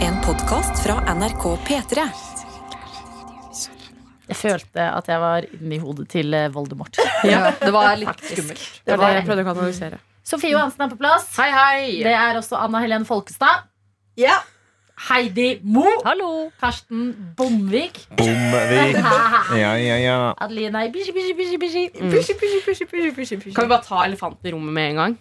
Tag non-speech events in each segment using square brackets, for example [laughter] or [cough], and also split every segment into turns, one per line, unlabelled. En podkast fra NRK P3.
Jeg følte at jeg var inni hodet til eh, Voldemort.
Ja, det var litt skummelt. Det var det jeg prøvde å kanalisere.
Sofie Johansen er på plass.
Hei, hei!
Det er også Anna Helen Folkestad.
Ja.
Heidi Mo. Karsten Bomvik.
Bomvik. Ja, ja, ja.
[laughs] Adelina Ibishi, bishi, bishi, bishi.
Pushy, pushy, pushy, pushy, pushy, pushy.
Kan vi bare ta elefanten i rommet med en gang?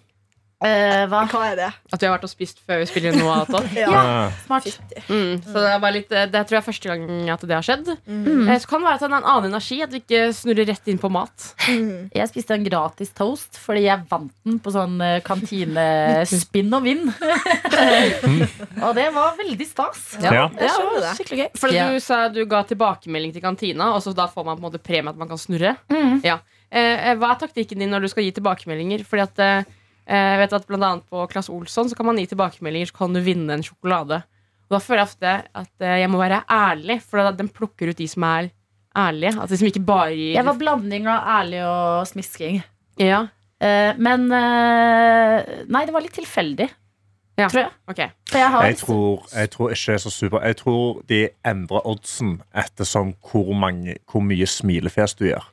Eh, hva?
Hva er det?
At vi har vært og spist før vi spiller inn noe
[laughs]
annet.
Ja.
Ah,
Smart.
Mm, så det er bare litt eh, Det tror jeg er første gang at det har skjedd.
Mm.
Eh, Så kan det være at den har en annen energi, at vi ikke snurrer rett inn på mat.
Mm.
Jeg spiste en gratis toast fordi jeg vant den på sånn eh, kantinespinn og vinn. og det var veldig stas.
Ja.
det
skjønner
var
det.
skikkelig gøy.
Fordi
Ja.
du sa du ga tilbakemelding til kantina, og så da får man på en måte premie at man kan snurre.
Mhm.
Ja. Eh, eh, hva er taktikken din når du skal gi tilbakemeldinger? Fordi at eh, eh, jeg vet at blant annet på Klass Olsson så kan man gi tilbakemeldinger, så kan du vinne en sjokolade. Og da føler jeg ofte at eh, jeg må være ærlig, for da, den plukker ut de som er ærlige. At de som ikke bare gir
Jeg var blanding av ærlig og smisking.
Ja,
Eh, men eh, Nei, det var litt tilfeldig,
Ja.
tror jeg.
ok.
For jeg har
Jeg tror, jeg tror ikke det er så super. Jeg tror de endrer oddsen etter sånn hvor, mange, hvor mye smilefjes du gjør.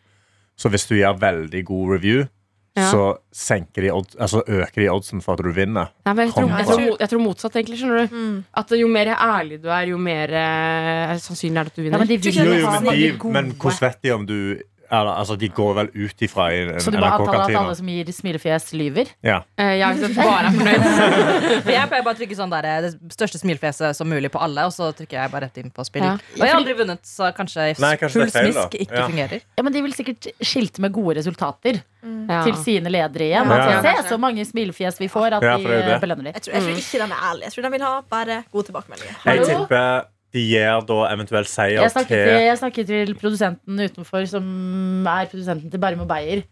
Så hvis du gjør veldig god review,
Ja.
så senker de odds, altså øker de oddsen for at du vinner.
Nei, men jeg, tror,
Kom
jeg,
på.
tror, jeg tror motsatt, egentlig. skjønner du
Mm.
At Jo mer ærlig du er, jo mer eh, sannsynlig er det at du
Ja,
vinner.
men de
Du
vil
kjenner
Jo,
jo
jo,
ha
men,
mange
de,
gode.
men hvordan vet de om du eller, altså, De går vel ut ifra i en
Så du bare antar at alle
NRK-kantine.
som gir smilefjes, lyver?
Ja.
Eh, jeg hvis jeg bare er [laughs] fornøyd.
For jeg pleier bare å trykke sånn der, det største smilefjeset som mulig på alle, og så trykker jeg bare rett inn på spill.
Ja.
Og jeg har aldri vunnet, så kanskje,
Nei, kanskje
full
det er feil, da.
smisk ikke
Ja.
fungerer.
Ja, men De vil sikkert skilte med gode resultater
Ja.
til sine ledere igjen.
Ja,
At
ja.
Se så mange smilefjes vi får, at
Ja, for
vi
det er jo
eh,
det.
belønner dem.
Jeg, tror, jeg tror ikke den er ærlig. Jeg tror den vil ha bare gode tilbakemeldinger.
Jeg
Hallo?
tipper de gir da eventuelt seier
Jeg snakket, til,
til
jeg snakket til produsenten utenfor, som er produsenten til Bærum og Beyer.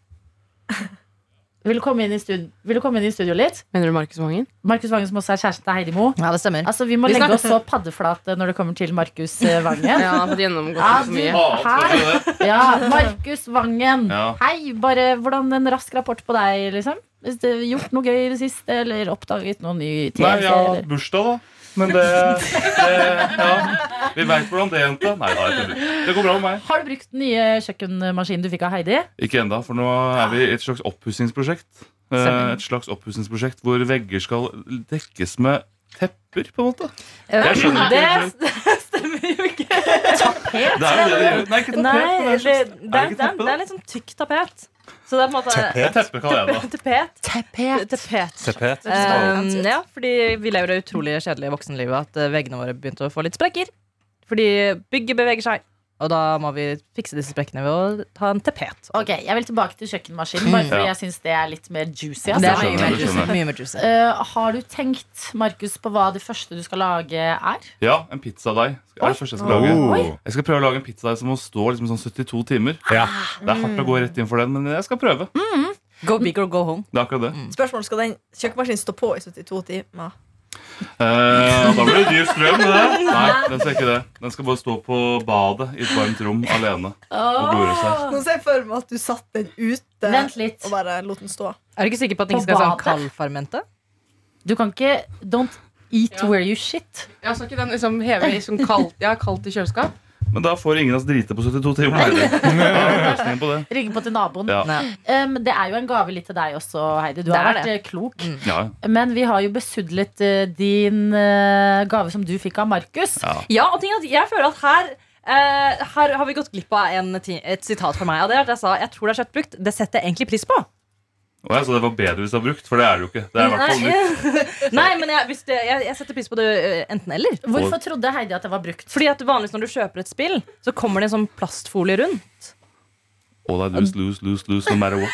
Vil du komme inn i studio, vil du komme inn i studio litt?
Mener du Markus Vangen?
Markus Vangen, som også er kjæresten til Heidi Mo.
Ja, det stemmer.
Altså, Vi må
Vi
legge
snakker-
oss så paddeflate når det kommer til Markus eh, Vangen.
Ja, han har fått gjennomgått
Ja,
så
du,
mye.
Ah,
hei. Ja,
[laughs]
Markus Vangen.
Ja.
Hei, bare hvordan en rask rapport på deg, liksom? Hvis du har gjort noe gøy i det siste, eller oppdaget noe ny TV?
Nei, jeg har
eller-
hatt bursdag, da. Men det, det Ja. Vi veit hvordan det endte. Nei da, jeg tuller. Det går bra med meg.
Har du brukt den nye kjøkkenmaskinen du fikk av Heidi?
Ikke enda, for nå er vi i et slags oppussingsprosjekt. Eh, Et slags oppussingsprosjekt hvor vegger skal dekkes med tepper, på en måte. Jeg skjønner ikke helt.
eh, det, [laughs] det stemmer jo ikke.
Det er jo det de gjør. Nei, ikke tapet.
Nei,
men
det,
et
det,
slags-
det, er-
er det
det,
ikke teppe,
er litt sånn tykk tapet. Så det er på en måte
da? Teppe kaller jeg det. da.
Tapet.
Tepet.
Tapet.
Tapet.
Eh,
Um, ja, fordi vi lever det utrolig kjedelige voksenlivet at eh, veggene våre begynte å få litt sprekker. Fordi bygget beveger seg. Og da må vi fikse disse sprekkene ved å ta en tapet.
Ok, Jeg vil tilbake til kjøkkenmaskinen, bare fordi
Ja.
jeg syns det er litt mer juicy.
Det er
Altså.
mye
skjønner jeg,
mer
det
juicy.
skjønner
Mye mer juicy.
Eh, har du tenkt Markus, på hva det første du skal lage, er?
Ja, en pizzadeig er det første jeg skal lage.
oh.
Jeg skal prøve å lage en pizzadeig som må stå liksom sånn 72 timer.
ja.
Ah,
Det er hardt å gå rett inn for den, men jeg skal prøve. Det
Go big or go home.
er akkurat det.
Mm.
Spørsmålet skal den kjøkkenmaskinen stå på i 72 timer.
Eh, og da blir det dyr strøm, det. Nei, den skal ikke det. Den skal bare stå på badet i et varmt rom alene. Og glore seg.
Nå ser jeg for meg at du satt den ute
Vent litt.
og bare lot den stå.
Er du ikke sikker på at den
På
ikke skal være sånn
badet?
kaldfermente?
Du kan ikke Don't eat where you shit.
Ja, så ikke den liksom heve i sånn kaldt, ja, kaldt i kjøleskap?
Men da får ingen av oss drite på 72 timer. heller. Da har vi løsningen på det.
Ringe på til naboen.
Ja.
Nei.
Um, det er jo en gave litt til deg også, Heidi. Du
Det
har
er
vært
det.
eh, klok.
Ja,
Men vi har jo besudlet eh, din eh, gave som du fikk av Markus.
ja.
Ja, og ting er at jeg føler at her eh, her har vi gått glipp av en, ti- et sitat fra meg. Og det er at jeg sa jeg tror det er kjøttbrukt. Det setter jeg egentlig pris på.
Og jeg sa det var bedre hvis det var brukt, for det er det jo ikke. Det er i hvert fall nytt.
Nei, [laughs] Nei men jeg, hvis det, jeg, jeg setter pris på det eh, enten eller.
Hvorfor trodde Heidi at det var brukt?
Fordi at vanligvis når du kjøper et spill, så kommer det en sånn plastfolie rundt.
All I do is lose, lose, lose, no matter what.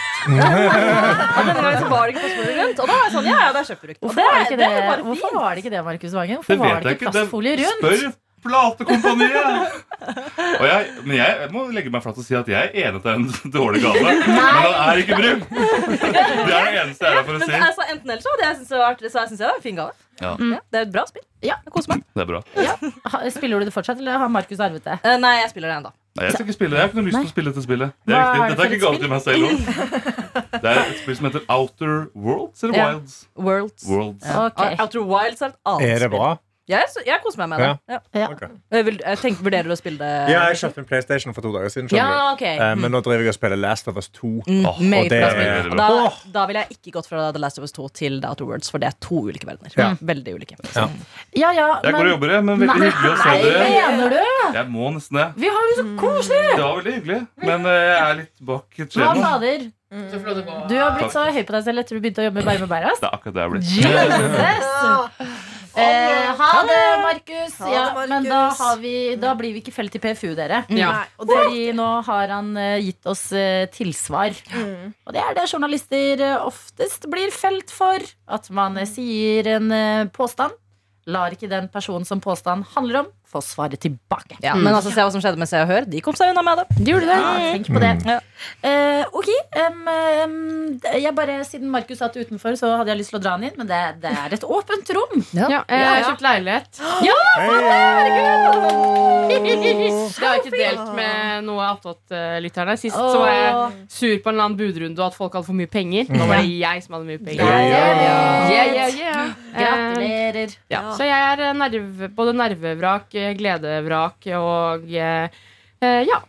Og denne gangen så var det ikke plastfolie rundt. Og da er jeg sånn, ja, ja, det er kjøttbrukt. Og
Hvorfor var det ikke det,
er bare fint.
Hvorfor var det, ikke det Markus Vangen?
Det
Hvorfor var
vet
det
jeg
ikke
ikke. Det-
plastfolie rundt?
Spør platekompaniet! Og jeg, men jeg, jeg må legge meg flat og si at jeg er enig til en dårlig gave. Men den er ikke brukt! Det er det eneste jeg er her for å
Men
si.
altså, enten eller så hadde jeg syntes det var, så jeg synes det var en fin gave.
Ja.
Ja, det er et bra spill.
Ja.
Jeg koser meg.
Det er bra.
Ha- Spiller du det fortsatt, eller har Markus arvet det?
Eh, nei, jeg spiller det ennå.
Nei, jeg skal ikke spille. Jeg har ikke noe lyst til å spille dette spillet. Det er
Hva er
riktig.
det
Dette er
for
ikke galt til meg selv også. Det er et spill som heter Outer Worlds eller
Ja.
Wilds.
Worlds.
Worlds.
Ok.
Outer Wilds er et
Oh,
annet
Er det
spill.
bra?
Jeg, sy- jeg koser meg med det. Ja.
Ja.
Ok.
Eh, Vil, jeg tenker, vurderer du å spille det?
Ja, jeg kjøpte en PlayStation for to dager siden.
Eh, Ja,
skjønner du.
ok.
Eh, Men nå driver jeg og spiller Last of Us 2.
Mm,
Åh,
meget
og det
bra
er-
spill. Og da, da vil jeg ikke gått fra The Last of Us 2 til The Outer Worlds, for det er to ulike verdener. Mm.
Ja. Mm.
Veldig ulike.
Ja.
Ja, ja,
Jeg går og
men
jobber, jeg, men veldig
Nei,
hyggelig å se
Nei,
dere.
mener du?
Jeg må nesten det.
Vi har jo så koselig!
Det var veldig hyggelig, men eh, jeg er litt bak et
Hva
skjema.
fader? Du har blitt så høy på deg selv etter du begynte å jobbe med Bærum og Bæras.
Det er akkurat det jeg blir.
Jesus! Eh, ha det, Markus.
Ha det,
Ja,
Markus.
men da, har vi, da blir vi ikke felt i PFU, dere.
Ja.
Nei, og det,
Fordi nå har han eh, gitt oss eh, tilsvar.
mm,
Og det er det journalister eh, oftest blir felt for. At man eh, sier en eh, påstand, lar ikke den personen som påstanden handler om, få svaret tilbake.
Ja, Men altså, se hva som skjedde med Se og Hør. De kom seg unna med det.
De gjorde det. Ja, tenk på det.
Ja.
Eh, ok. em, em, jeg bare, siden Markus satt utenfor, så hadde jeg lyst til å dra han inn, men det, det er et åpent rom.
Ja, eh, jeg har kjøpt leilighet. Det har jeg ikke delt med noe av Attåt-lytterne. Sist så eh, var jeg
Åh.
sur på en eller annen budrunde og at folk hadde for mye penger. Nå var det jeg som hadde mye penger.
Ja,
Yeah, yeah, yeah. Eh,
Gratulerer.
ja. Så jeg er eh, nerve, både nervevrak, eh, gledevrak og eh, eh, ja.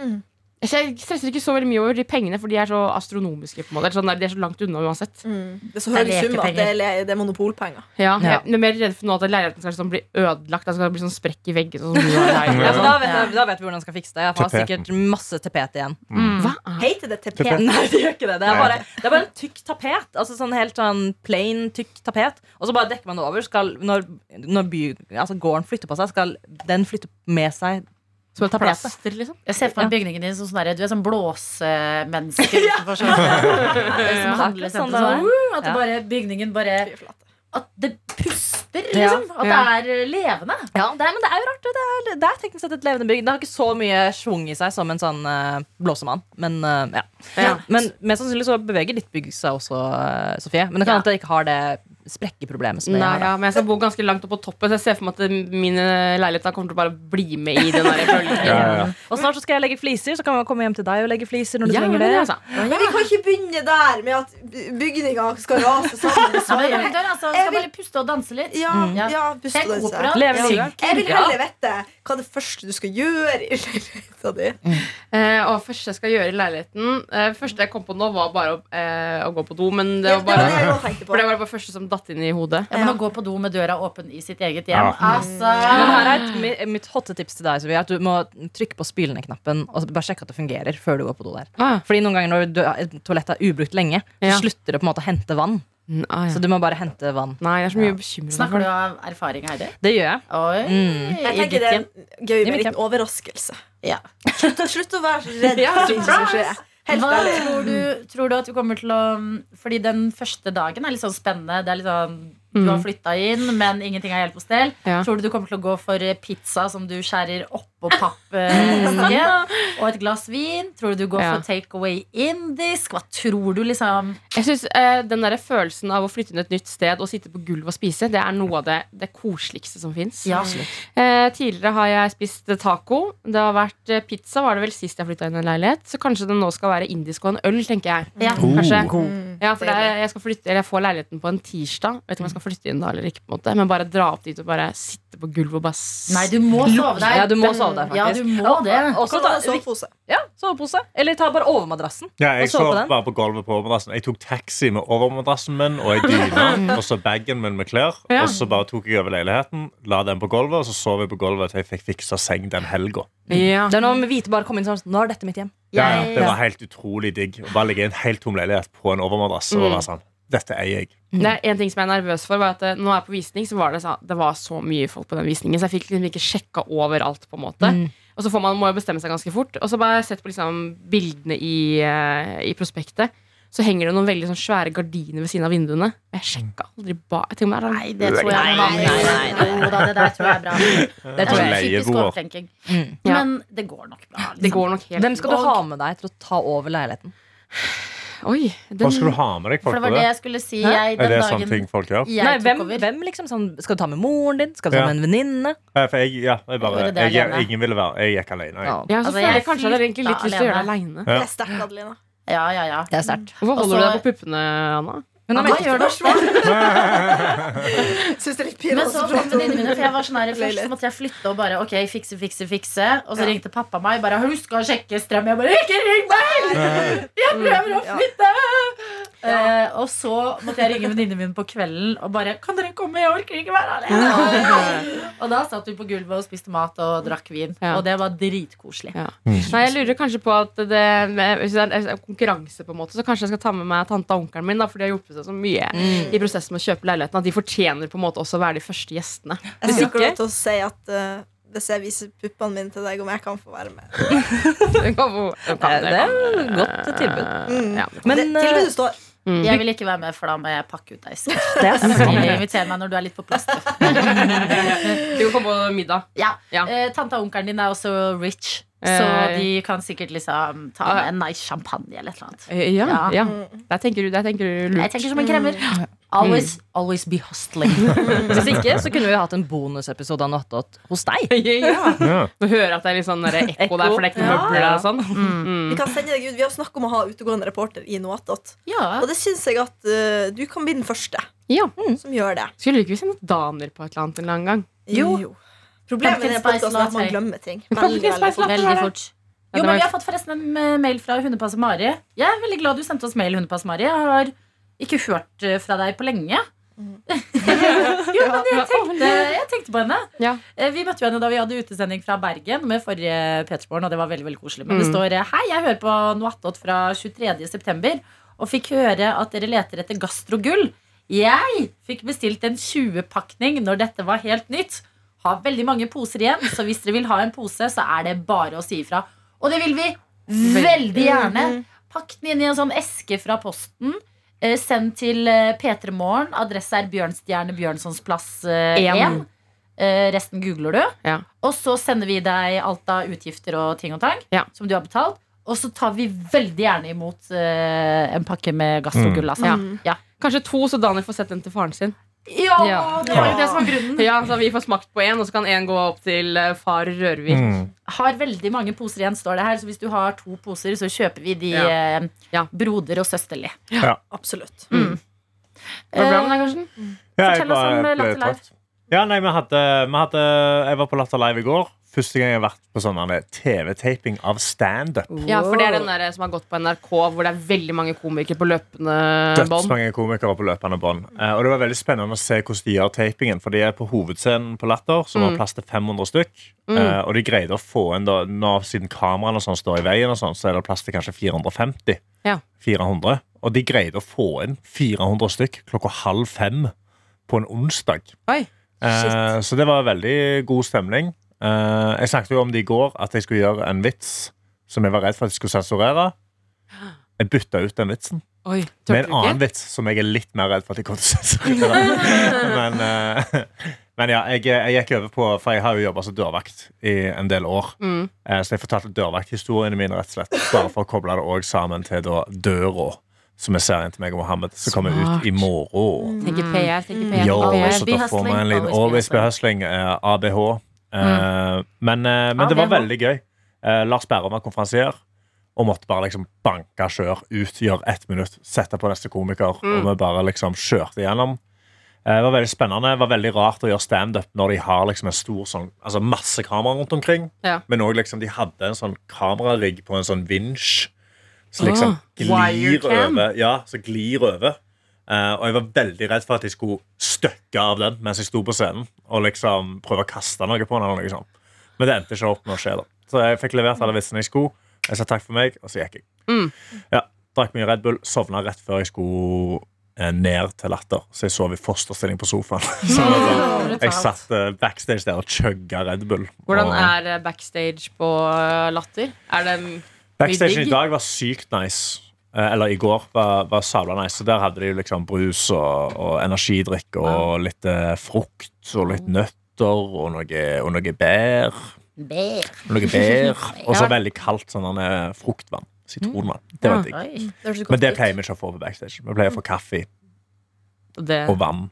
Mm.
Så jeg stresser ikke så veldig mye over de pengene, for de er så astronomiske. på en måte Eller sånn der, De er så langt unna uansett.
mm, det er så
Det er
høy sum at det
lekepenger.
er, le- det er monopolpenger.
Ja,
Ja.
Jeg er mer redd for nå at leiligheten skal liksom bli ødelagt. Det skal bli sånn sprekk i veggen. Sånn, som du har i leiligheten.
Ja, så Altså, da, vet
Ja.
jeg, da vet vi hvordan jeg skal fikse det. Jeg har
Tapeten.
sikkert masse tapet igjen.
sånn, Hva?
Heter det TP?
Tapet.
[laughs] Nei, det gjør ikke det. Det er
Nei.
bare, det er bare en tykk tapet. Altså sånn helt sånn plain, tykk tapet. Og så bare dekker man det over. Skal, når når by, altså gården flytter på seg, skal den flytte med seg
Som et
Plass.
plaster, liksom?
Jeg ser for meg bygningen din som sånn der, Du er sånn blåsemenneske utenfor sånn. Det er som handlesenter,
Sånn det var.
sånn, uh, At det
Ja.
bare, bygningen bare
Fy flate.
At det puster,
Ja.
liksom. At
Ja.
det er levende.
Ja, det er, men det er jo rart. Det er, det er teknisk sett et levende bygg. Det har ikke så mye schwung i seg som en sånn eh, blåsemann. Men eh, ja.
Ja.
Men mest sannsynlig så beveger ditt bygg seg også, eh, Sofie. Men det kan hende at jeg ikke har det sprekkeproblemet som
Nei,
jeg har.
ja,
da.
men jeg skal bo ganske langt opp på toppen, så jeg ser for meg at eh, mine leiligheter kommer til å bare bli med i den der bølgen.
Ja, ja, ja.
Og snart så skal jeg legge fliser, så kan man komme hjem til deg og legge fliser når du
Ja, men
trenger
det,
det.
altså.
Men vi kan ikke begynne der med at by- bygninger skal rase sammen.
Så det er, altså,
Jeg
skal
vil-
bare puste og danse litt.
Ja,
Ja.
ja, pust
Tenk
og danse.
opera.
Leve
Ja.
livet.
Jeg vil
Ja.
heller vite hva det første du skal gjøre i [laughs] leiligheta di.
Eh, og første jeg skal gjøre i leiligheten eh, Første jeg kom på nå, var bare å, eh, å gå på do. Men det var
Det var
bare
det jeg også tenkte på.
for det var bare første som datt inn i hodet.
Ja, men
Ja.
Å gå på do med døra åpen i sitt eget hjem
Ja.
Men
Altså
her er et, mi- mitt hotte tips til deg, Sofie, at du må trykke på spylene-knappen og så bare sjekke at det fungerer før du går på do der.
Ah.
Fordi noen ganger når du, et toalett er ubrukt lenge, så
Ja.
slutter det på en måte å hente vann.
ah,
Så du må bare hente vann.
Nei, det er så mye bekymring.
Snakker du av erfaring, Heidi?
Det gjør jeg.
Oi.
Mm.
Jeg
I ditt
tenker det er
hjem?
gøy med
mitt
en liten
hjem.
overraskelse.
Ja.
Slutt, å- slutt å være
[laughs]
så redd
Ja,
for ting som
surprise!
skjer. Helt
Hva
ærlig.
tror du, tror du at du kommer til å mm, Fordi den første dagen er litt sånn spennende. Det er litt sånn, Du
Mm.
har flytta inn, men ingenting er helt på stell.
Ja.
Tror du du kommer til å gå for pizza som du skjærer oppå
Mm.
pappesken? eh, og et glass vin? Tror du du går
Ja.
for take away indisk? Hva tror du, liksom?
Jeg synes, eh, Den der følelsen av å flytte inn et nytt sted og sitte på gulvet og spise, det er noe av det, det koseligste som fins.
Ja.
Eh, tidligere har jeg spist eh, taco. Det har vært eh, Pizza var det vel sist jeg flytta inn i en leilighet. Så kanskje det nå skal være indisk og en øl, tenker jeg.
Ja.
Kanskje.
Mm,
Ja, for det
deilig.
er, jeg, skal flytte, eller jeg får leiligheten på en tirsdag. Vet ikke om jeg skal flytte inn da eller ikke. på en måte Men bare dra opp dit og bare sitte på gulvet og bare s-
Nei, du må sove der.
Ja, du må sove der,
Ja,
faktisk.
du må det.
Også
Kan du
ta,
ha en sovepose?
ja, sovepose. Eller ta bare overmadrassen.
Ja, jeg
Og sove på
sov
den?
bare på gulvet på overmadrassen. Jeg tok taxi med overmadrassen min og ei dyne og så bagen min med klær.
Ja.
Og så bare tok jeg over leiligheten, la den på gulvet, og så sov jeg på gulvet til jeg fikk fiksa seng den helga.
Ja.
Ah.
Det er noe med hvite bare komme inn sånn Nå er dette mitt hjem.
Ja, ja,
Jeg-
det var helt utrolig digg å bare ligge i en helt tom leilighet på en overmadrass og være sånn Dette eier jeg.
Mhm.
Det er en ting som jeg er nervøs for. Var at eh, Når jeg er på visning, så var det, så, det var så mye folk på den visningen, så jeg fikk liksom ikke sjekka overalt. på en måte
Mhm.
Og så får man, må jeg bestemme seg ganske fort. Og så bare sett på liksom, bildene i, eh, i prospektet. Så henger det noen veldig sånn svære gardiner ved siden av vinduene. Og
Mhm.
jeg sjekka aldri ba jeg tenker, meg,
Nei, det tror jeg er en
Nei,
vanlig-
nei, nei,
Jo da, det der tror jeg
[laughs]
er bra. Det
tror
tror
jeg.
jeg er psykisk
Leieboer.
overtenking.
Mm.
Ja.
Men det går nok bra. liksom.
Det går nok helt
Hvem skal du
Og-
ha med deg til å ta over leiligheten?
Oi, den,
Hva skal du ha med deg
For
folk
det
på
var det
det?
jeg skulle si. Jeg,
Er
den
det
dagen
sånne ting folk gjør?
jeg
Nei, hvem,
tok over
hvem liksom sånn, Skal du ta med moren din? Skal du ta
Ja.
med en venninne?
Eh, For jeg, ja, jeg bare
gjorde det
jeg,
alene.
Ingen ville være Jeg gikk alene. Jeg.
Ja.
Ja, så
Altså,
føler jeg
jeg
kanskje jeg hadde egentlig litt
flytta
lyst til å gjøre det aleine.
Det er sterkt, Adelina.
Ja, ja, ja.
Det er sterkt.
Hvorfor holder
Også-
du deg på puppene, Anna?
Men
Ja,
han
hva
meldte-
gjør du?
Syns det er litt
Men
pinlig
så
å
kom
prate om
venninnene mine, for jeg var sånn her først,
Leilighet.
så måtte jeg flytte og bare ok, fikse, fikse, fikse. Og så
Ja.
ringte pappa meg bare husk å sjekke strøm. Jeg bare ikke ring meg! Jeg prøver å
Ja.
flytte! Eh, og så måtte jeg ringe venninnene mine på kvelden og bare kan dere komme, jeg orker ikke være alene. og da satt vi på gulvet og spiste mat og drakk vin.
Ja.
Og det var dritkoselig.
Nei, jeg lurer kanskje på at det med, Hvis det er en konkurranse, på en måte så kanskje jeg skal ta med meg tante og onkelen min, da, for de har hjulpet seg så mye i prosessen med å kjøpe leiligheten. At de fortjener på en måte også å være de første gjestene.
Jeg skal ikke lov til å si at eh, hvis jeg viser puppene mine til deg, om jeg kan få være med.
Det kan-
Eh, Det er jo et godt tilbud.
Mm.
Ja.
Men, det,
Men eh,
tilbudet står
Jeg vil ikke være med, for da må jeg pakke ut deg. i skapet.
det er
Så
sant.
Inviter meg når du er litt på plass. du.
Du kan komme på middag.
Ja.
Ja.
Eh, tante og onkelen din er også rich, så
Eh,
de kan sikkert liksom ta med en nice champagne eller et eller annet.
Eh, Ja,
Ja.
ja. Der tenker du, der tenker du
Jeg
lurt.
tenker som en kremmer. Always, always be hustling.
hmm. [laughs] Hvis ikke, så kunne vi hatt en bonusepisode av Nottåt hos
[laughs]
deg.
Ja.
Ja.
Du hører at det er litt sånn der ekko der, for det er ikke noe
Ja.
møbler der og sånn.
Mm.
Vi kan sende deg ut. Vi har snakk om å ha utegående reporter i Noatot.
Ja. Mm.
Og det syns jeg at eh, du kan bli den første
Ja.
som gjør det.
Skulle ikke vi sende Daniel på et eller annet en eller annen gang?
Jo. Problemet
Pumpkin spice
med den podcasten er at
latte.
man glemmer ting. Veldig, veldig fort.
Veldig fort.
Ja,
Jo,
det
men
var-
Vi har fått forresten en eh, mail fra Hundepass Mari. Jeg er veldig glad du sendte oss mail. Hundepass Mari Jeg har ikke hørt eh, fra deg på lenge. jo, men
[laughs]
jeg tenkte, jeg tenkte på henne.
Ja.
Eh, Vi møtte jo henne da vi hadde utesending fra Bergen med forrige Petersborg, og det var veldig veldig koselig. Men det står eh, Hei, jeg hører på Noattot fra 23.9. og fikk høre at dere leter etter gastrogull. Jeg fikk bestilt en 20-pakning når dette var helt nytt. Har veldig mange poser igjen, så hvis dere vil ha en pose, så er det bare å si ifra. Og det vil vi veldig gjerne. Pakk den inn i en sånn eske fra posten. Eh, send til eh, P3 Morgen. Adresse er Bjørnstjerne Bjørnsons plass eh,
En.
1. Eh, resten googler du.
Ja.
Og så sender vi deg alt av utgifter og ting og tang
Ja.
som du har betalt. Og så tar vi veldig gjerne imot eh, en pakke med
Mm.
gastrogull. Altså.
Ja.
Ja.
Kanskje to, så Daniel får sett den til faren sin.
Ja,
Ja.
det var jo det som var grunnen.
Ja, så Vi får smakt på én, og så kan én gå opp til eh, far Rørvik.
Mm.
[laughs] Har veldig mange poser igjen, står det her. Så hvis du har to poser, så kjøper vi de
Ja.
eh,
Ja.
broder og søsterlig.
Absolutt.
Var
Eh,
det bra med deg, Karsten?
Ja,
Fortell
jeg bare
oss om, eh,
ble
Latter Live.
trøtt. Ja, nei, vi hadde, vi hadde, jeg var på Latter Live i går. Første gang jeg har vært på sånn der TV-taping av standup.
Ja, for det er den der eh, som har gått på NRK, hvor det er veldig mange komikere på løpende bånd.
Dødsmange komikere på løpende bånd. Eh, Og det var veldig spennende å se hvordan de gjør tapingen. For de er på hovedscenen på Latter, som
Mm.
har plass til 500 stykk. Eh, Og de greide å få inn da, nå, Siden kameraene og sånn står i veien, og sånn, så er det plass til kanskje 450.
Ja.
400. Og de greide å få inn 400 stykk klokka halv fem på en onsdag.
Oi.
Eh, så det var veldig god stemning. Eh, jeg snakket jo om det i går, at jeg skulle gjøre en vits som jeg var redd for at jeg skulle sensurere. Jeg bytta ut den vitsen
Oi,
med
tørte
en
du
annen
ikke?
vits som jeg er litt mer redd for at jeg kommer til å
[laughs]
sensurere. men, eh, men ja, jeg, jeg gikk over på For jeg har jo jobba som dørvakt i en del år.
Mm.
Eh, så jeg fortalte dørvakthistoriene mine, rett og slett bare for å koble det også sammen til da, døra, som er serien til meg og Mohammed, som kommer
Smart.
ut i morgen.
Tenker
mm.
PR, tenker PR.
Yo,
Always
så
be
da får
hustling,
man en liten
always
Always
be
be hustling, eh, ABH. Eh, Men, eh, men det var
ABH.
veldig gøy. Eh, Lars Bærum var konferansier og måtte bare liksom banke kjør ut, gjøre ett minutt, sette på neste komiker, og vi bare liksom kjørte gjennom. Eh, Det var veldig spennende. Det var veldig rart å gjøre standup når de har liksom en stor sånn, altså masse kameraer rundt omkring.
Ja.
Men òg liksom, de hadde en sånn kamerarigg på en sånn vinsj som liksom
Ah,
glir
wirecam.
over. Ja, som glir over. Eh, og jeg var veldig redd for at jeg skulle støkke av den mens jeg sto på scenen. Og liksom prøve å kaste noe på den. Eller noe sånt. Men det endte ikke opp med å skje. da Så jeg fikk levert alle vitsene jeg skulle. Jeg sa takk for meg, og så gikk jeg.
Mm.
Ja, Drakk mye Red Bull, sovna rett før jeg skulle eh, ned til Latter. Så jeg sov i fosterstilling på sofaen. [laughs] så sånn, jeg satt eh, backstage der og chugga Red Bull.
Hvordan
Og-
er eh, backstage på eh, Latter? Er det mm,
Backstage
Digg.
i dag var sykt nice. Eh, Eller i går var, var sabla nice. Så der hadde de jo liksom brus og, og energidrikk og litt eh, frukt og litt nøtter og noe, og noe bær. Og Noe
[laughs]
bær. Og så veldig kaldt sånn eh, fruktvann. Sitronvann.
Mm.
Det var digg.
Oi.
Det høres så
Men
godt
det
ut.
pleier vi ikke å få på backstage. Vi pleier å få kaffe
det,
og vann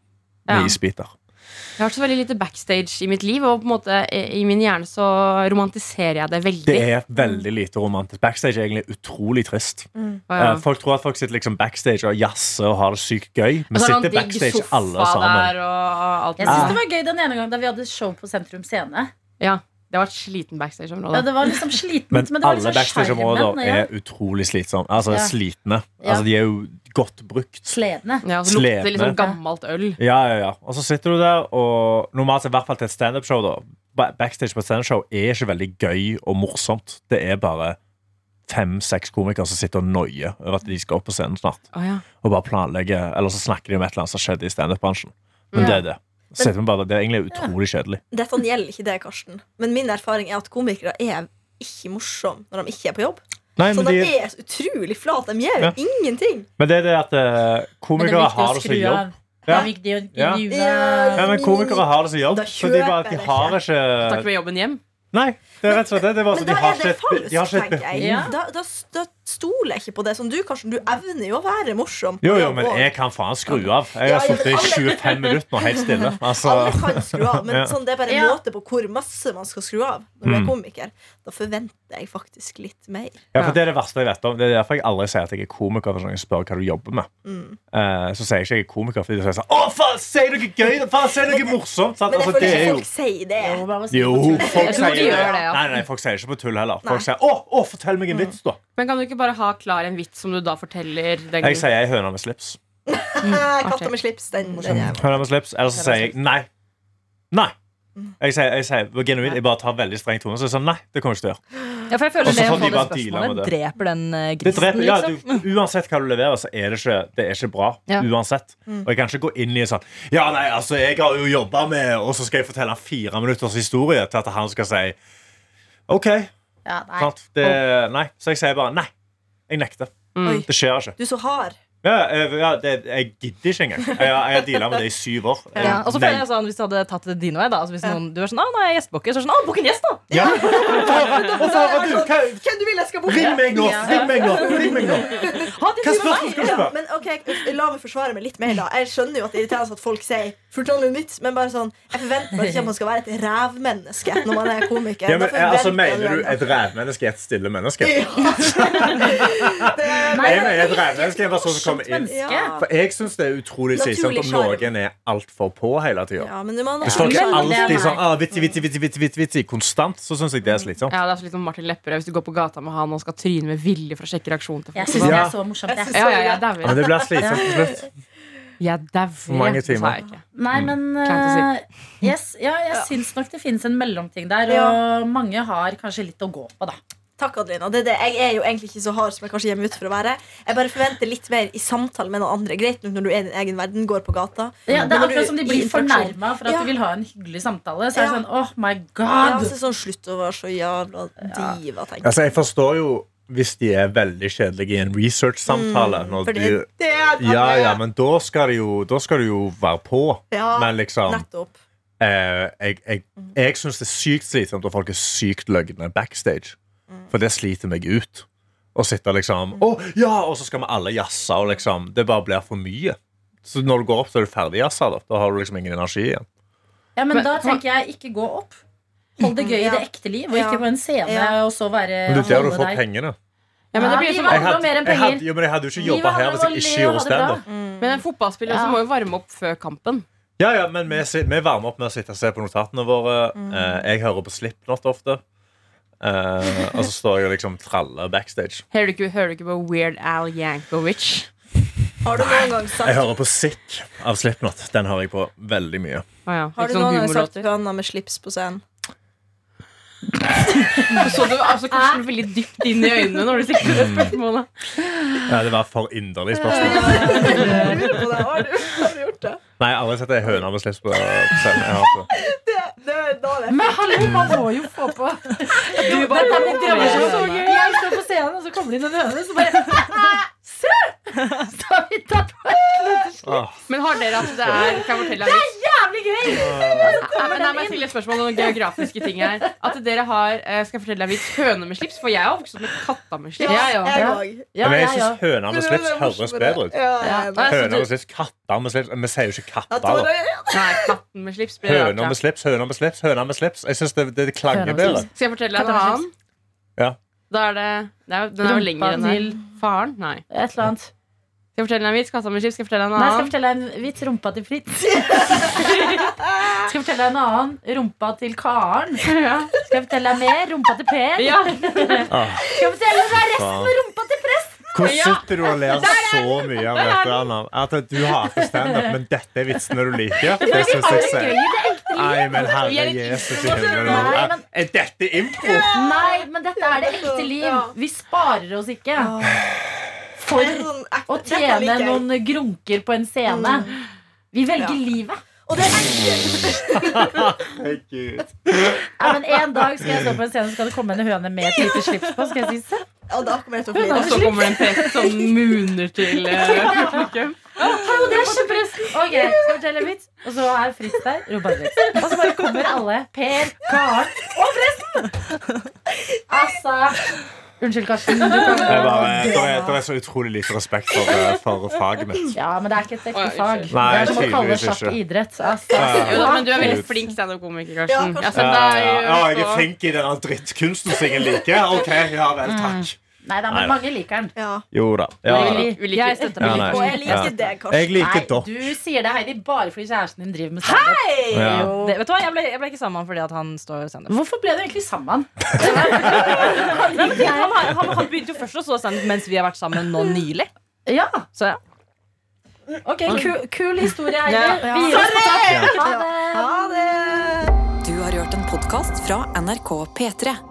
Ja.
med isbiter.
Jeg har vært så veldig lite backstage i mitt liv, og på en måte eh, i min hjerne så romantiserer jeg det veldig.
Det er veldig lite romantisk. Backstage er egentlig utrolig trist.
Og ja.
Eh, folk tror at folk sitter liksom backstage og jazzer og har det sykt gøy. Vi
Og så er det
sitter
noen digg
backstage
sofa
alle sammen.
Der, og alt.
Jeg
Ah.
syns det var gøy den ene gangen da vi hadde show på Sentrum Scene.
Ja, det var et sliten backstage-område.
Ja, det var liksom slitent, men,
Men,
det var
alle
liksom
backstage-områder
sjarmen. Ja.
er utrolig slitsomme. Altså
Ja.
slitne.
Ja.
Altså, de er jo godt brukt.
Sledende.
Ja, og så lukter det liksom
Slepende.
gammelt øl.
Ja, ja, ja. Og så sitter du der, og normalt sett, i hvert fall til et standup-show, da. ba- Backstage på et standup-show er ikke veldig gøy og morsomt. Det er bare fem-seks komikere som sitter og noier over at de skal opp på scenen snart.
Å, ja.
Og bare planlegger, eller så snakker de om et eller annet som skjedde i standup-bransjen. Men
Ja.
det er det. Så sitter vi bare, der. det er egentlig utrolig kjedelig.
Dette gjelder ikke det, Karsten. Men min erfaring er at komikere er ikke morsomme når de ikke er på jobb.
Nei,
Så
men,
de
de,
er så utrolig flate. De gjør
Ja.
ingenting.
men det er det at eh,
Men det er
komikere
viktig å
har det som
skru
jobb.
av. Det
Ja.
er viktig å
Ja.
intervjue
Ja, men komikere har det som jobb.
Da
Så de, bare,
kjøper
de
jeg
har
Takk
ikke
med jobben hjem.
Nei, det er rett og slett det. det er bare, så
Men
de
da
har
er
ikke
det
et-
falskt,
de har ikke et
tenker jeg.
Ja.
Da, da, da stoler jeg ikke på det. Som du, Karsten. Du evner jo å være morsom.
Jo,
på
jo,
jobb
men
også.
jeg kan faen skru av. Jeg
Ja,
har
ja, men
sittet i
alle-
25 minutter nå helt
[laughs]
stille. Altså,
Alle kan skru
[laughs]
av, men
Ja.
sånn, det er bare en
Ja.
måte på hvor masse man skal skru av. Når man
Mm.
er komiker Da forventer jeg faktisk litt mer.
ja, for det er det verste jeg vet om. Det er derfor jeg aldri sier at jeg er komiker. For sånn, jeg spør hva du jobber med
Mm.
Eh, Så sier jeg ikke jeg er komiker fordi de sier sånn Å, faen, si noe gøy! da! Faen, si noe morsomt! Sant?
Men jeg
Altså,
føler
det er
ikke
jo
folk sier det.
Jo, bare si
Jo,
på tull.
folk
Jeg tror de
sier det.
gjør det, ja.
Nei, nei, folk sier ikke på tull heller.
Nei. Mm.
Folk sier Å, å, fortell meg en vits, da!
Men kan du ikke bare ha klar en vits som du da forteller? Den
Jeg sier jeg er høna med slips.
Mm.
Eh, Katta
artig.
med slips, den, den er
Høna med slips. Eller så sier jeg nei. Nei!
Mm.
Jeg sier, jeg sier genuint, jeg bare tar veldig streng tone. Så jeg sier nei, det kommer jeg ikke til å gjøre.
Ja, for jeg føler
Og så
det å
får
få
de
det
bare deale med
spørsmålet
det.
dreper den eh,
Det
grisen,
dreper, ja,
liksom.
du, uansett hva du leverer, så er det ikke, det er ikke bra.
Ja. Mm.
Uansett. Og jeg kan ikke gå inn i en sånn Ja, nei, altså, jeg har jo jobba med Og så skal jeg fortelle han fire minutters historie til at han skal si OK.
Ja, nei.
Sant? Det,
Oh.
nei. Så jeg sier bare nei. Jeg nekter.
Mm.
Oi.
Det skjer ikke.
Du er så hard.
Ja, eh, ja, det, jeg gidder ikke engang. Jeg, jeg har deala med det i syv år.
Ja, og så føler
Nei.
jeg sånn, Hvis du hadde tatt det din vei, da altså Hvis noen, du er sånn, ah, nå er jeg gjestebukker, så er det sånn, ah, bukk en gjest, da!
ja. Og så var du hva,
Hvem du vil jeg skal bo
Ring meg nå! Ring meg nå! Ring meg nå.
Ha
Hva
de timer med
spørsmål
meg!
skal du spørre?
Men ok, La meg forsvare meg litt mer. da Jeg skjønner jo at det er irriterende at folk sier Fortell noe nytt, men bare sånn Jeg forventer bare ikke at man skal være et rævmenneske når man er komiker.
Ja,
Da
men,
forventer
altså,
jeg
mener du
noe
et rævmenneske er et stille menneske? [laughs]
annet.
Nei,
Jeg mener et rævmenneske er en person som kommer inn
Ja.
Menneske.
For jeg syns det er utrolig
Naturlig
slitsomt om
sjarm.
noen er altfor på hele tida.
Ja, men man
Hvis folk er
Men det er
alltid
meg.
sånn ah, vitsi, vitsi, vitsi, vitsi, vitsi, vitsi, konstant, så syns jeg det er slitsomt.
Ja, det er så litt som Martin Lepperød hvis du går på gata med han og skal tryne med vilje for å sjekke reaksjonen til
Jeg
folk.
syns
Ja.
det er så morsomt.
Jeg synes-
Jeg.
Ja, ja, jeg dauer.
Men det blir slitsomt til slutt.
Jeg dauer.
mange
det sa
timer.
jeg ikke.
Mm.
Nei, men
Kleint
eh, yes, ja, jeg syns nok det finnes en mellomting der,
Ja.
og mange har kanskje litt å gå på, da.
Takk, Adelina. Det er det. Jeg er jo egentlig ikke så hard som jeg kanskje hjemme ute for å være. Jeg bare forventer litt mer i samtale med noen andre. Greit nok når du er i din egen verden, går på gata.
Ja, det
Men
er
når
akkurat som
du
de
i
blir
interaksjon-
fornærma for at
Ja.
du vil ha en hyggelig samtale. Så er det
Ja.
sånn, oh my
Ja,
god
så sånn slutt å være så jævla diva, tenker jeg.
Altså, jeg forstår jo hvis de er veldig kjedelige i en research-samtale. Når
Mm. Fordi
de,
det er
ja, ja, men da skal du jo, da skal du jo være på.
Ja,
Men liksom eh,
nettopp.
Jeg, jeg,
Mm.
jeg syns det er sykt slitsomt når folk er sykt løgne backstage.
Mm.
For det sliter meg ut. Å sitte liksom Å, ja! Og så skal vi alle jazze, og liksom Det bare blir for mye. Så når du går opp, så er du ferdig jazza. Da. da har du liksom ingen energi igjen.
Ja, men
Men-
da tenker jeg ikke gå opp. Hold det gøy i
Ja.
det ekte liv, og
Ja.
ikke på en scene.
Ja.
Og så være
Men det er der du
holde
får
deg.
pengene.
Ja, men
Ja,
det blir sånn- jo
vi
som
var- handler om mer enn
jeg
penger.
hadde, jo, men jeg hadde jo ikke
Livet
jobba her
handler
hvis
om å
jeg ikke
le og
gjorde
ha det bra.
standup.
Men en fotballspiller også
Ja.
må jo varme opp før kampen.
Ja, ja, men vi, sit- vi varmer opp med å sitte og se på notatene våre.
Mm.
Eh, jeg hører på Slipknot ofte. Eh, og så står jeg og liksom traller backstage.
Hører du ikke, hører du ikke på Weird Al Yankovic?
Har du noen gang
Jeg
sagt
hører på Sick av Slipknot. Den hører jeg på veldig mye.
Å ja,
har
ikke
du
sånn
noen gang sagt
humorlåter.
bønner med slips på scenen?
Så du altså, Karsten veldig dypt inn i øynene når du stilte det spørsmålet?
Ja, det var for inderlig spørsmål.
Jeg lurer på det. Har du, har du gjort det?
Nei, jeg har aldri sett ei høne med slips på scenen. Jeg har altså- ikke.
Det, det, da er det.
Men hallo, man må jo få [laughs] på.
Du
Dette er mitt
bare
drømmeshow. Jeg står på [laughs] scenen, og så kommer det inn en høne, så bare Se! Så har vi tatt på et lite
Men har dere at det er Kan jeg fortelle deg litt?
Jævlig gøy!
Men jeg må stille et spørsmål om noen geografiske ting her. At dere har eh, Skal jeg fortelle deg en vits? Høne med slips? For jeg har vokst opp med katta med slips.
Ja, ja,
Jeg
ja.
òg.
Ja,
Men
ja, ja.
jeg syns høner med slips høres bedre ut.
Ja,
Ja.
jeg
Nei,
er enig.
så
Høner
du-
med slips, katter med slips Vi sier jo ikke
Ja,
katter.
Tore,
da.
Nei, katten med slips blir rart,
Høner
ja.
med slips, høner med slips, høner med slips. Jeg syns det, det klanger
Høner med
bedre.
slips.
Skal jeg fortelle deg en
Katta med
annen?
Ja.
Da er det, det er, jo- Den er jo
Rumpa
lengre enn her.
til-
Faren? Nei.
Et eller annet.
Skal jeg fortelle deg en vits? Katta med slips? Skal jeg fortelle deg en
Nei, jeg skal
annen?
fortelle deg en vits. Rumpa til [laughs] Fritz. skal jeg fortelle deg en annen. Rumpa til Karen.
Ja.
Skal jeg fortelle deg mer? Rumpa til Per.
Ja.
Ah,
Skal jeg fortelle deg
faen.
rumpa til Per?
Hvor
Ja.
sitter du og ler så mye av dette? Anna? At du hater standup, men dette er vitsene du liker? Det syns jeg selv. Nei, men herre Jesus i
Nei,
himmelen.
men-
Er dette impro?
Nei, men dette er det ekte liv.
Ja.
Vi sparer oss ikke
Det er
for
sånn ekte-
å
dette liker
tjene
jeg.
noen grunker på en scene. Vi velger
Mm. Ja.
livet.
Og det er ekkelt.
Nei, men En dag skal jeg stå på en scene, så skal det komme en høne med et lite slips på. Skal jeg si se?
Ja, da kommer jeg til å
Og
flire.
så kommer det en prest som muner til eh,
[laughs]
publikum.
Hallo, det er kjempepressen! Ok, skal jeg fortelle en vits? Og så er Fritz der. Robert Fritz. Og så bare kommer alle. Per, Karen og presten! Altså Unnskyld, Karsten. Du kan
Det er bare, det er, det er så utrolig lite respekt for, eh, for faget mitt.
Ja, men det er ikke et ekte
Å, ja,
fag.
unnskyld.
Nei,
det er som å kalle
tydeligvis
sjakk
ikke.
idrett. Altså.
Ja.
Jo da, men du er veldig
Absolutt.
flink standup-komiker,
Ja,
Karsten.
Karsten.
Jeg har
Ja,
sett deg
ja, ja, Eh, jeg
på-
er flink i den drittkunsten som jeg liker. OK, ja vel, takk.
Nei da,
Nei
men
da.
mange liker den.
Ja.
Jo da.
Ja.
Vi
Jeg
liker
støtter
Ja,
meg
nei.
litt.
Og jeg
Ja.
liker deg,
Jeg
Karsten.
Nei,
liker dere.
du sier det, Heidi, bare fordi kjæresten din driver med standup.
Ja.
Jo.
Det, vet du hva, jeg ble, jeg ble ikke sammen med han fordi at han står standup.
Hvorfor ble du egentlig sammen?
Nei, men Han, har- han, han begynte jo først å stå standup mens vi har vært sammen nå nylig.
Ja,
Så ja.
ok, kul, kul historie, Heidi.
Ja.
Vi gir oss på topp. Ha det!
Ha det.
Du har hørt en podkast fra NRK P3.